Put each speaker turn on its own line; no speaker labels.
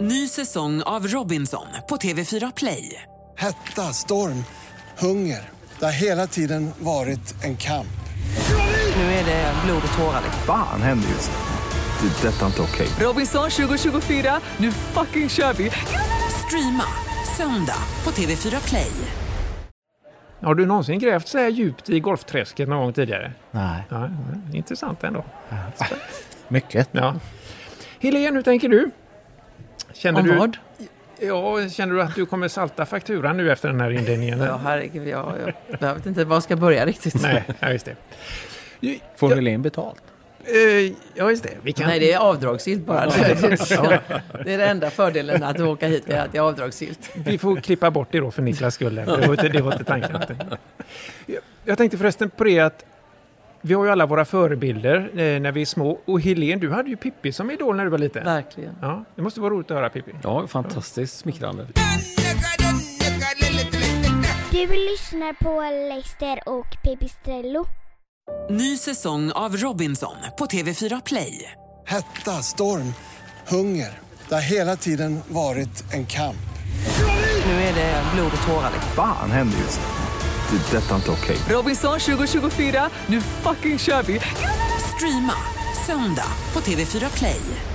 Ny säsong av Robinson på TV4 Play.
Hetta, storm, hunger. Det har hela tiden varit en kamp.
Nu är det blod och tårar.
liksom.
Fan händer just nu. Det. är Detta är inte okej.
Robinson 2024, nu fucking kör vi! Streama söndag på TV4 Play.
Har du någonsin grävt så här djupt i golfträsket någon gång tidigare?
Nej,
Ja, ja, intressant ändå.
mycket.
Ja. Helene, hur tänker du? Känner
Om
du,
vad?
Ja, känner du att du kommer salta fakturan nu efter den här inledningen?
Ja, herregud, jag, jag, jag vet inte var jag ska börja riktigt. Nej,
Nej, ja, just det.
Får Helene betalt?
Eh, Ja, just det. Vi kan...
det är avdragsgillt bara. Det är den enda fördelen att åka hit, är att det är avdragsgillt.
Vi får klippa bort det då för Niklas skull. Det var inte, det var inte tanken. Jag- Jag tänkte förresten på det att vi har ju alla våra förebilder eh, när vi är små. Och Helene, du hade ju Pippi som idol när du var liten.
Verkligen.
Ja, det måste vara roligt att höra Pippi.
Ja, fantastiskt smickrande.
Du lyssnar på Leicester och Pipistrello.
Ny säsong av Robinson på TV4 Play.
Hetta, storm, hunger. Det har hela tiden varit en kamp.
Nu är det blod och tårar.
Fan händer just nu. Det. är Detta är inte okej.
Robinson 2024, nu fucking kör vi! Streama söndag på TV4 Play.